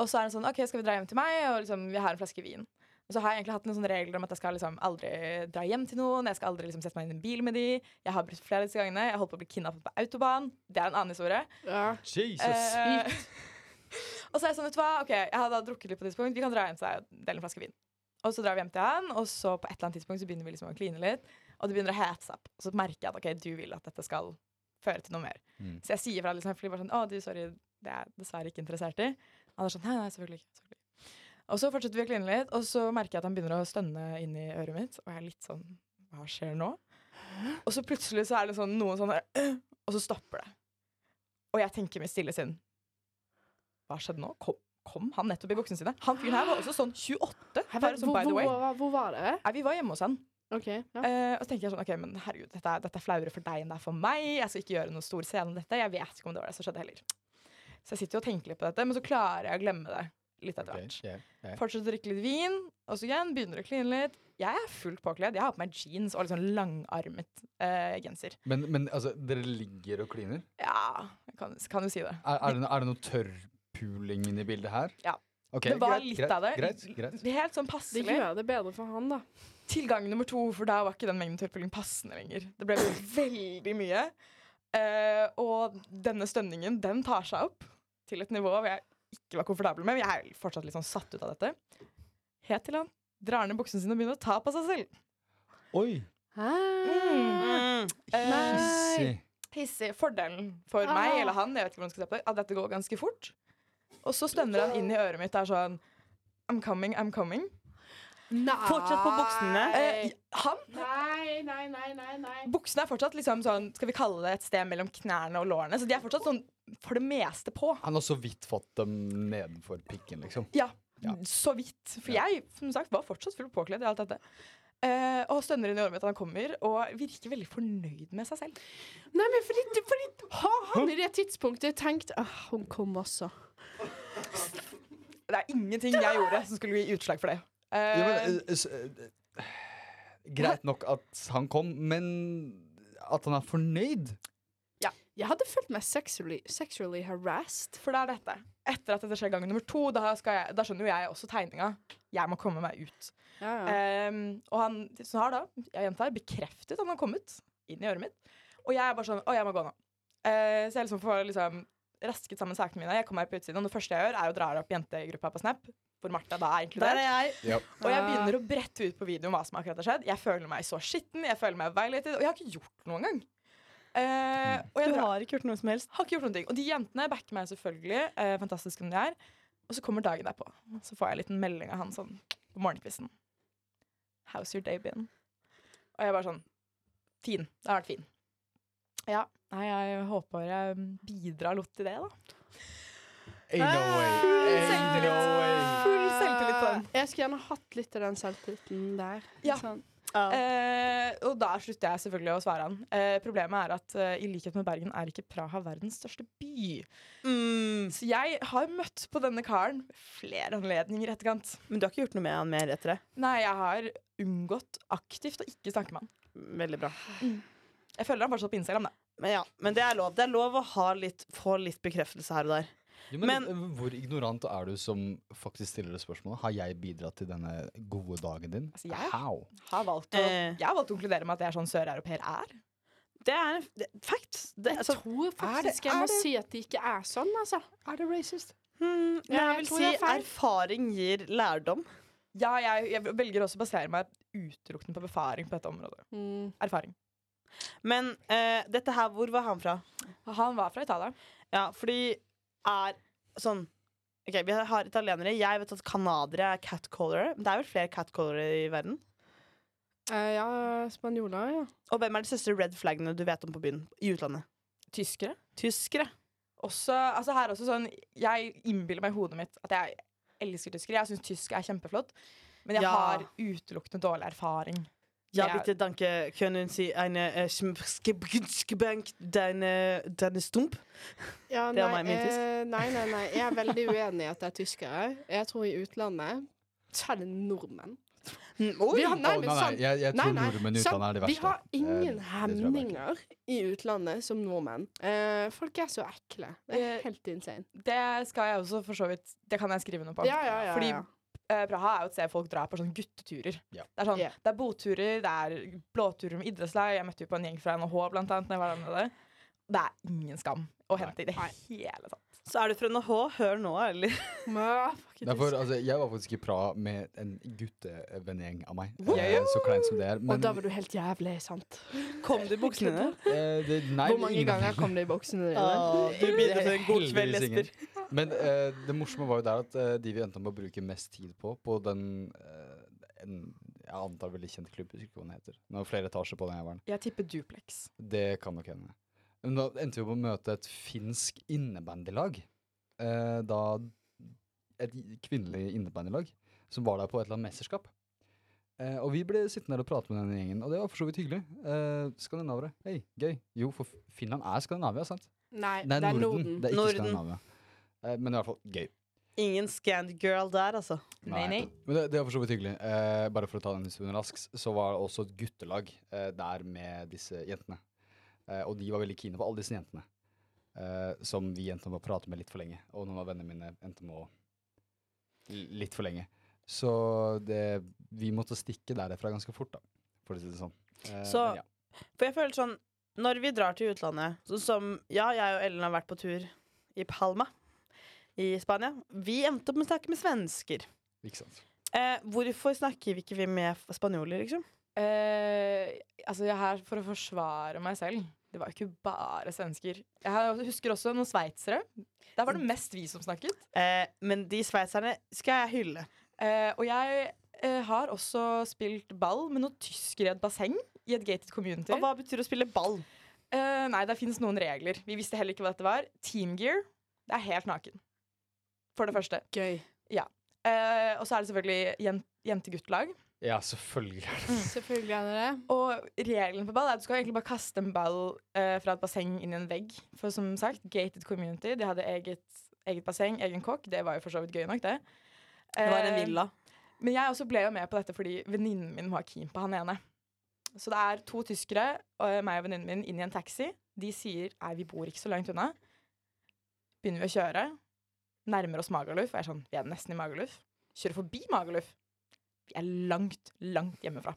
C: Og så er det sånn, ok, skal vi dra hjem til meg, og liksom, vi har en flaske vin. Og så har jeg egentlig hatt noen sånne regler om at jeg skal liksom aldri dra hjem til noen, jeg skal aldri liksom sette meg inn i en bil med de, jeg har brutt flere av disse gangene, jeg holdt på å bli kidnappet på autobahn, det er en annen historie.
D: Ja.
B: Jesus!
C: Eh, og så er jeg sånn, vet du hva, ok, jeg hadde drukket litt på et tidspunkt, vi kan dra hjem til deg og dele en flaske vin. Og så drar vi hjem til han, og så på et eller annet tidspunkt så begynner vi liksom å kline litt, og det begynner å hete seg opp. Og så merker jeg at ok, du vil at dette skal føre til noe mer.
B: Mm.
C: Så jeg sier fra liksom, fordi bare sånn, å du, sorry, det er jeg dessverre ikke interessert i. Han er sånn, nei, nei, selvfølgelig ikke, selvfølgelig. Og så fortsetter vi å kline litt, og så merker jeg at han begynner å stønne inn i øret mitt, og jeg er litt sånn, hva skjer nå? Og så plutselig så er det sånn, noen sånn, der, og så stopper det. Og jeg tenker med stille sinn Hva skjedde nå? Kom, kom han nettopp i buksene sine? Han fyren her var også sånn 28.
D: Hvor,
C: Bare sånn, by the way.
D: hvor, hvor var det?
C: Nei, vi var hjemme hos han.
D: OK. Ja.
C: Eh, og så tenker jeg sånn, ok, men herregud, dette er, dette er flauere for deg enn det er for meg. Jeg skal ikke gjøre noen stor scene om dette. Jeg vet ikke om det var det som skjedde heller. Så jeg sitter jo og tenker litt på dette, men så klarer jeg å glemme det litt etter
B: Ok,
C: hvert.
B: ja, ja.
C: Fortsetter å drikke litt vin, og så igjen begynner å kline litt. Jeg er fullt påkledd. Jeg har på meg jeans og litt sånn langarmet eh, genser.
B: Men, men altså, dere ligger og kliner?
C: Ja, kan, kan du si det.
B: Er, er, det, no- er det noe tørr puling inn i bildet her?
C: Ja.
B: Ok,
C: Det var
B: greit,
C: litt
B: greit,
C: av det.
B: Greit, greit.
C: Det er helt sånn
D: Det
C: passelig.
D: gjør det bedre for han, da.
C: Tilgang nummer to, for da var ikke den mengden tørrpulling passende lenger. Det ble veldig mye. Eh, og denne stønningen, den tar seg opp til et nivå hvor jeg ikke var komfortabel med. Men jeg er fortsatt litt sånn satt ut av dette. Helt til han drar ned buksene sine og begynner å ta på seg selv.
B: Oi,
C: Mm. Eh,
B: hissig.
C: hissig. Fordelen for meg eller han jeg vet ikke hvordan jeg skal se på det, at dette går ganske fort. Og så stønner han inn i øret mitt. Det er sånn I'm coming, I'm coming.
D: Nei.
A: Fortsatt på buksene.
C: Eh, han
D: Nei, nei, nei, nei, nei.
C: Buksene er fortsatt liksom sånn, skal vi kalle det et sted mellom knærne og lårene. Så de er fortsatt sånn for det meste på.
B: Han har så vidt fått dem nedenfor pikken, liksom.
C: Ja,
B: Ja.
C: så vidt. For jeg som sagt, var fortsatt fullt påkledd i alt dette. Eh, og stønner inn i ormet at han kommer, og virker veldig fornøyd med seg selv.
D: Nei, men fordi, fordi Har han i det tidspunktet tenkt ah, Hun kom også.
C: Det er ingenting jeg gjorde som skulle gi utslag for det. Eh,
B: Ja, men, eh, s- eh, greit nok at han kom, men at han er fornøyd?
D: Jeg hadde følt meg sexually, sexually harassed.
C: for det er dette. Etter at dette skjer gang nummer to, da, skal jeg, da skjønner jo jeg også tegninga. Jeg må komme meg ut.
D: Ja, ja.
C: Ehm, og han så har da, jeg gjentar, bekreftet at han har kommet inn i øret mitt. Og jeg er bare sånn Å, jeg må gå nå. Eh, så jeg liksom får liksom rasket sammen sakene mine. Jeg kommer her på utsiden, og det første jeg gjør, er å dra opp jentegruppa på Snap, hvor Martha da
A: Der
C: er
A: er
C: inkludert.
A: jeg. Ah.
C: Og jeg begynner å brette ut på videoen hva som akkurat har skjedd. Jeg føler meg så skitten, jeg føler meg violated, og jeg har ikke gjort noe engang. Eh, og jeg
A: Du
C: drar,
A: har ikke gjort noe som helst.
C: har ikke gjort noen ting. Og de jentene backer meg selvfølgelig, eh, fantastisk som de er. Og så kommer dagen derpå. Så får jeg en liten melding av han sånn på morgenkvisten. How's your day been? Og jeg bare sånn Fin. Det har vært fin. Ja. Nei, jeg håper jeg bidrar litt til det, da.
B: Ain't no
D: Ah,
B: way. Ain't no way.
C: Full selvtillit på den.
D: Eh, Jeg skulle gjerne hatt litt av den selvtilliten der.
C: Ja.
D: Sånn.
C: Eh, og da slutter jeg selvfølgelig å svare han. Eh, problemet er at eh, i likhet med Bergen er ikke Praha verdens største by.
A: Mm.
C: Så jeg har møtt på denne karen flere anledninger i etterkant.
A: Men du har ikke gjort noe med han mer etter det?
C: Nei, jeg har unngått aktivt å ikke snakke med han.
A: Veldig bra.
C: Jeg følger han fortsatt på Instagram, da.
A: Men ja, men det er lov. Det er lov å ha litt, få litt bekreftelse her og der.
B: Jo, men,
A: Men-
B: eh, hvor ignorant er du som faktisk stiller det spørsmålet? Har jeg bidratt til denne gode dagen din?
C: Altså, jeg-
B: How?
C: Har valgt å,
A: Eh.
C: jeg har valgt å konkludere med at jeg er sånn søreuropeer er.
A: Det er en det, fact. Det,
D: Jeg
A: altså,
D: tror faktisk jeg
C: er
D: må
C: det-
D: si at det ikke er sånn, altså.
B: Er det racist?
A: hmm,
D: Ja,
A: jeg
D: jeg
A: vil
D: tror
A: si
D: det er feil.
A: erfaring gir lærdom.
C: Ja, jeg, jeg velger også å basere meg utelukkende på befaring på dette området.
D: Mm.
C: Erfaring.
A: Men eh, dette her, hvor var han fra?
C: Han var fra Italia.
A: Ja, fordi er sånn Ok, vi har italienere. Jeg vet at canadiere er catcallere. Det er vel flere catcallere i verden?
D: Eh, ja, spanjoler, ja.
A: Og hvem er de største red flaggene du vet om på byen i utlandet?
C: Tyskere.
A: Tyskere.
C: Også, altså her er også sånn, jeg innbiller meg i hodet mitt at jeg elsker tyskere. Jeg syns tysk er kjempeflott, men jeg
A: Ja.
C: har utelukkende dårlig erfaring.
A: Ja,
C: Ja.
A: bitte danke. Können Sie eine eh, Schmskebänk deine, deine Stump?
D: ja
A: Det er meg, min tysk.
D: eh, nei, nei, nei. Jeg er veldig uenig i at det er tyskere. Jeg tror i utlandet så er det nordmenn.
A: Mm, oi.
D: Vi har- nei,
B: Å,
D: men
B: nei, nei,
D: sånn-
B: jeg, jeg
D: Nei,
B: tror
D: nei,
B: nordmenn i
D: sant.
B: utlandet er de verste.
D: Vi har ingen
B: Eh, det tror jeg bare ikke.
D: hemninger i utlandet som nordmenn. Eh, folk er så ekle. Det er
C: Eh,
D: helt insane.
C: Det skal jeg også for så vidt Det kan jeg skrive noe på.
D: Ja, ja, ja.
C: Fordi
D: ja.
C: eh, Praha er jo et sted folk drar på sånne gutteturer.
B: Ja.
C: Det er sånn,
D: Ja.
C: det er båtturer, det er blåturer med idrettslag. Jeg møtte jo på en gjeng fra NHH blant annet. Når jeg var der nede. Det er ingen skam å hente i det hele tatt.
A: Så er du fra NH, hør nå, eller?
D: Må- fuck it,
B: Derfor,
D: tysk.
B: altså, jeg var faktisk i Praha med en guttevennegjeng av meg.
A: Wow.
B: Eh, så kleint som det er.
D: Og
B: Men
D: da var du helt jævlig, sant?
A: Kom du i buksene dine?
B: eh, det, nei,
D: Hvor mange
B: ingen av
D: ganger kom det i boksene dine?
A: Å, Du bidrar til
D: sånn
A: en god
B: Heldigvis
A: kveld,
B: ingen.
A: Jesper.
B: Men eh, det morsomme var jo der at eh, de vi endte med å bruke mest tid på, på den eh, en, Jeg antar veldig kjent klubb, jeg husker ikke hva den heter. Den har flere etasjer på den jævelen.
C: Jeg tipper Duplex.
B: Det kan nok hende. Men da endte vi på å møte et finsk innebandylag. Eh, da Et kvinnelig innebandylag som var der på et eller annet mesterskap. Eh, og vi ble sittende der og prate med denne gjengen, og det var for så vidt hyggelig. Eh, skandinavere. Hei, gøy. Jo, for Finland er Skandinavia, sant?
D: Nei,
B: Nei,
D: det er
B: Norden.
D: Norden.
B: Det er ikke
A: Norden.
B: Skandinavia. Eh, men i hvert fall gøy.
A: Ingen Scand-girl der, altså.
C: Nei, nei.
B: Men det, det er for så vidt hyggelig. Eh, bare for å ta den historien raskt, så var det også et guttelag eh, der med disse jentene. Eh, og de var veldig kine på alle disse jentene. eh, som vi endte med å prate med litt for lenge. Og noen av vennene mine endte med å l- litt for lenge. Så det, vi måtte stikke derfra ganske fort, da. For å si det sånn. Eh,
A: Så-
B: men ja.
A: For jeg føler sånn Når vi drar til utlandet Sånn som Ja, jeg og Ellen har vært på tur i Palma i Spania. Vi endte opp med å snakke med svensker.
B: Ikke sant.
A: Eh, hvorfor snakker vi ikke vi med f- spanjoler, liksom?
C: Eh, altså, jeg er her for å forsvare meg selv. Det var jo ikke bare svensker. Jeg har- husker også noen sveitsere. Der var det mest vi som snakket.
A: Eh, men de sveitserne skal jeg hylle.
C: Eh, og jeg eh, har også spilt ball med noen tyskere i et basseng i et gated community.
A: Og hva betyr å spille ball?
C: Eh, nei, det finnes noen regler. Vi visste heller ikke hva dette var. Teamgear, det er helt naken. For det første.
D: Gøy.
C: Eh, og så er det selvfølgelig jen jenteguttlag.
B: Ja, selvfølgelig.
D: Mm, Selvfølgelig er det det.
C: Og regelen på ball er at du skal egentlig bare kaste en ball eh, fra et basseng inn i en vegg. For som sagt, gated community. De hadde eget, eget basseng, egen kokk. Det var jo for så vidt gøy nok, det.
A: Det var en
C: Eh,
A: villa.
C: Men jeg også ble jo med på dette fordi venninnen min var keen på han ene. Så det er to tyskere og meg og venninnen min inn i en taxi. De sier nei, vi bor ikke så langt unna. Begynner vi å kjøre. Nærmer oss Magaluf. Og jeg er sånn, vi er nesten i Magaluf. Kjører forbi Magaluf. Vi er langt, langt hjemmefra.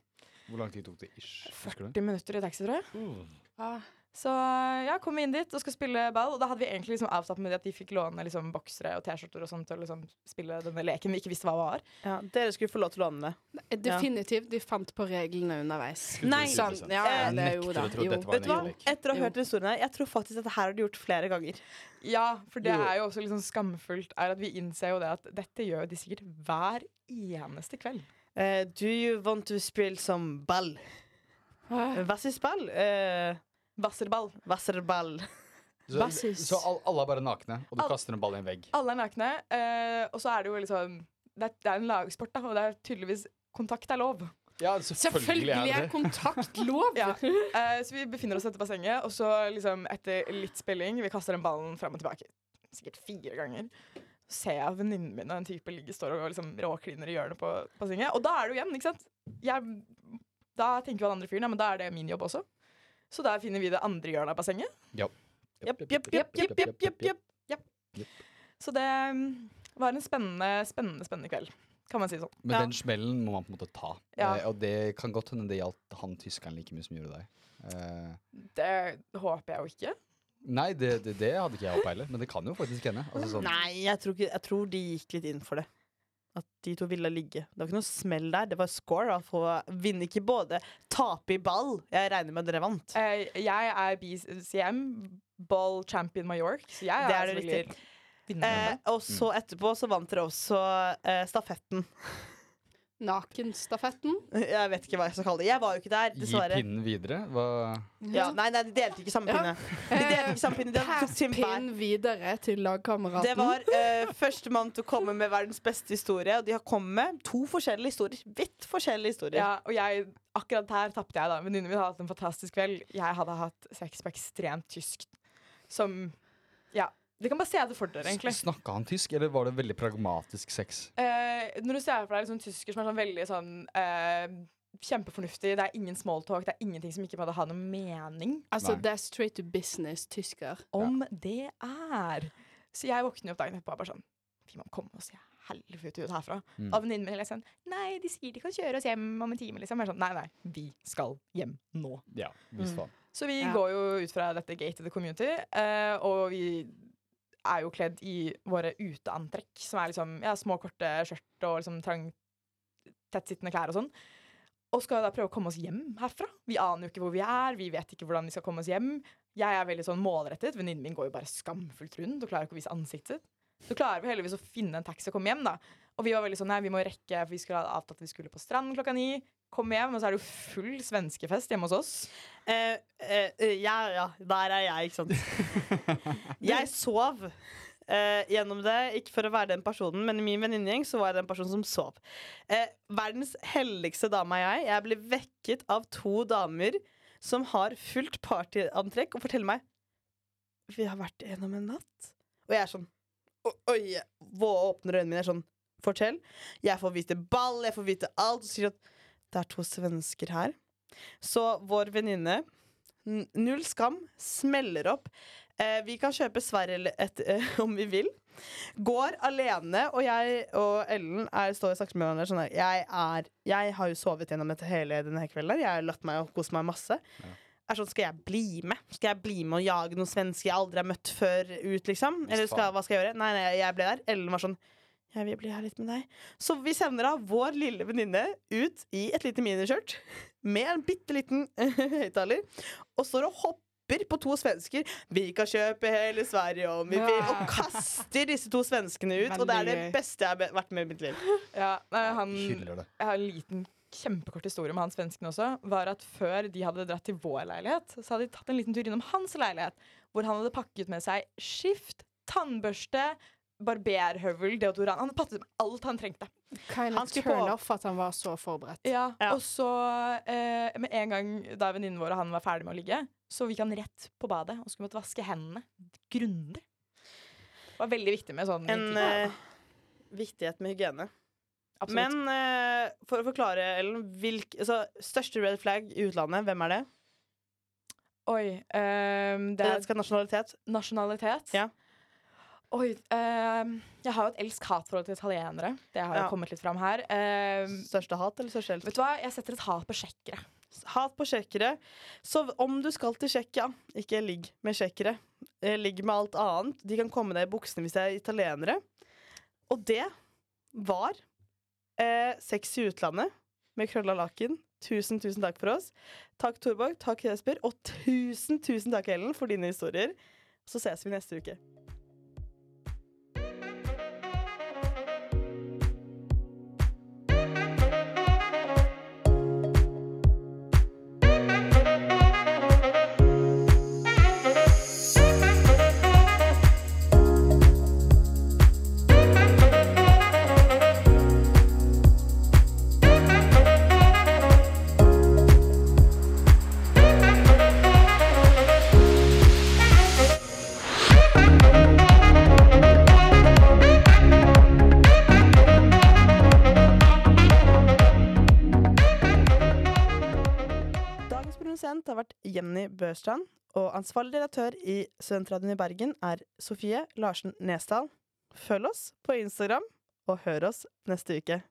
B: Hvor lang tid tok det ish? Husker du?
C: 40 minutter i taxi, tror jeg.
B: Uh.
C: Så ja, kom vi inn dit og skal spille ball. Og da hadde vi egentlig liksom avtalt med det at de fikk låne liksom boksere og T-skjorter og sånt til å liksom spille denne leken vi ikke visste hva var.
A: Ja, dere skulle få lov til å låne det.
D: Eh, Definitivt. De fant på reglene underveis.
A: Nei,
D: Sånn, ja, ja, det er jo da. Jo.
A: Vet du hva? Etter å ha
D: Jo.
A: hørt historien her, jeg tror faktisk dette her har du gjort flere ganger.
C: Ja, for det
B: Jo.
C: er jo også litt sånn skamfullt er at vi innser jo det at dette gjør de sikkert hver eneste kveld.
A: Eh, do you want to spille some ball? Hva is ball? Eh,
C: Wasserball.
A: Wasserball.
B: Så,
D: Basis.
B: så all- alle er bare nakne, og du
C: Al-
B: kaster en ball i en vegg.
C: Alle er nakne, eh, og så er det jo liksom det er, det er en lagsport, da, og det er tydeligvis kontakt er lov.
B: Ja,
D: Selvfølgelig er kontakt lov!
C: Ja. Eh, så vi befinner oss etter bassenget, og så liksom etter litt spilling Vi kaster den ballen fram og tilbake. Sikkert fire ganger. Så ser jeg venninnen min og en type ligger står og liksom råkliner i hjørnet på bassenget. Og da er det jo igjen, ikke sant? Jeg, da tenker jo han andre fyren, ja, men da er det min jobb også. Så der finner vi det andre hjørnet av bassenget.
A: Jepp, jepp, jepp, jepp, jepp, jepp, jepp.
C: Så det mm, var en spennende, spennende, spennende kveld. Kan man si det sånn.
B: Men
A: Ja.
B: den smellen må man på en måte ta.
C: Ja.
B: Eh, og det kan godt hende det gjaldt han tyskeren like mye som gjorde deg. Eh,
C: Det håper jeg jo ikke.
B: nei, det, det, det hadde ikke jeg håpa heller, men det kan jo faktisk hende. Altså, sånn,
A: Nei, jeg tror, ikke, jeg tror de gikk litt inn for det. At de to ville ligge. Det var ikke noe smell der. Det var score. da, for å vinne ikke både. Tape i ball. Jeg regner med dere vant.
C: Eh, jeg er BCM, ball champion Mallorca, så jeg
A: Det er det
C: selvfølgelig vinner.
A: Eh, og så
B: Mm.
A: etterpå så vant dere også eh, stafetten.
D: Nakenstafetten.
A: Jeg vet ikke hva jeg skal kalle det. Jeg var jo ikke der,
B: Gi
A: dessverre.
B: pinnen videre. Hva,
A: Ja, nei, nei, de delte ikke samme
D: Ja.
A: pinne. De delte ikke samme pinne. De tok sin hver.
D: Pinn Eh, videre til lagkameraten.
A: Det var eh, førstemann til å komme med verdens beste historie, og de har kommet med to forskjellige historier. Vidt forskjellige historier.
C: Ja, og jeg, akkurat her tapte jeg, da. Venninnen min hadde hatt en fantastisk kveld. Jeg hadde hatt sex på ekstremt tysk. Som Ja. Dere kan bare se det for dere, egentlig.
B: snakka han tysk, eller var det veldig pragmatisk sex?
C: Eh, når du ser for deg liksom, tysker som er sånn veldig sånn eh, Kjempefornuftig. Det er ingen small talk. Det er ingenting som ikke måtte ha noen mening.
D: Altså,
B: Nei.
D: det er straight to business tysker.
C: Om det er. Så jeg våkner jo opp dagen etterpå og bare sånn Vi må komme oss i helvete ut herfra.
B: Mm.
C: Av venninnen min eller sånn Nei, de sier de kan kjøre oss hjem om en time, liksom. Jeg er sånn, nei, nei. Vi skal hjem nå.
B: Ja, visst faen.
C: Så vi
D: Ja.
C: går jo ut fra dette gated community, eh, og vi er jo kledd i våre uteantrekk, som er liksom ja, små, korte skjørt og liksom trang, tettsittende klær og sånn. Og skal da prøve å komme oss hjem herfra. Vi aner jo ikke hvor vi er, vi vet ikke hvordan vi skal komme oss hjem. Jeg er veldig sånn målrettet, venninnen min går jo bare skamfullt rundt og klarer ikke å vise ansiktet sitt. Så klarer vi heldigvis å finne en taxi og komme hjem, da. Og vi var veldig sånn nei, vi må rekke, for vi skulle ha avtalt at vi skulle på strand klokka ni. Kom hjem, og så er det jo full svenskefest hjemme hos oss.
A: Eh, eh, eh, ja, ja. Der er jeg, ikke sant. Jeg sov eh, gjennom det, ikke for å være den personen, men i min venninnegjeng så var jeg den personen som sov. Eh, verdens heldigste dame er jeg. Jeg ble vekket av to damer som har fullt partyantrekk, og forteller meg Vi har vært gjennom en natt. Og jeg er sånn o- Oi! jeg vå- åpner øynene mine, jeg er sånn Fortell. Jeg får vite ball, jeg får vite alt. Og sier at det er to svensker her. Så vår venninne, n- null skam, smeller opp Eh, vi kan kjøpe Sverrel et, eh, om vi vil. Går alene, og jeg og Ellen er, står og snakker med hverandre sånn her jeg, er, jeg har jo sovet gjennom dette hele denne her kvelden. her. Jeg har latt meg og kost meg masse. Er sånn, skal jeg bli med? Skal jeg bli med og jage noen svensker jeg aldri har møtt før ut, liksom? Eller skal, hva skal jeg gjøre? Nei, nei, jeg ble der. Ellen var sånn jeg vil bli her litt med deg. Så vi sender da vår lille venninne ut i et lite miniskjørt med en bitte liten høyttaler, og står og hopper på to svensker. Vi kan kjøpe hele Sverige om vi vil. Og kaster disse to svenskene ut. Og det er det
D: Veldig gøy.
A: beste jeg har vært med i mitt liv.
C: Ja, nei, han,
B: Hyller det.
C: jeg har en liten kjempekort historie med han svensken også, var at før de hadde dratt til vår leilighet, så hadde de tatt en liten tur innom hans leilighet, hvor han hadde pakket med seg skift, tannbørste, barberhøvel, deodorant. Han hadde pakket med alt han trengte.
D: Kind
A: Han
D: of
A: skulle
D: turn
A: på-
D: off at han var så forberedt.
C: Ja,
A: Ja.
C: Og så, eh, med en gang da venninnen vår og han var ferdig med å ligge, så gikk han rett på badet og skulle måtte vaske hendene grundig. Det var veldig viktig med sånn
A: En
C: intim-
A: eh, viktighet med hygiene.
C: Absolutt.
A: Men eh, for å forklare, Ellen, hvilk, altså, største red flag i utlandet, hvem er det?
C: Oi. ehm, det
A: Eller
C: er
A: skal nasjonalitet?
C: nasjonalitet.
A: Ja.
C: Oi. ehm, jeg har jo et elsk-hat-forhold til italienere. Det har
A: Ja.
C: jo kommet litt fram her. Ehm,
A: Største hat eller største elsk?
C: vet du hva? Jeg setter et hat på tsjekkere.
A: Hat på tsjekkere. Så om du skal til Tsjekkia, ikke ligg med tsjekkere. Eh, Ligg med alt annet. De kan komme deg i buksene hvis de er italienere. Og det var eh, Sex i utlandet med krølla laken. Tusen, tusen takk for oss. Takk, Torborg. Takk, Jesper. Og tusen, tusen takk, Ellen, for dine historier. Så ses vi neste uke. Dagens produsent har vært Jenny Børstrand. Og ansvarlig redaktør i Studentradioen i Bergen er Sofie Larsen Nesdal. Følg oss på Instagram, og hør oss neste uke.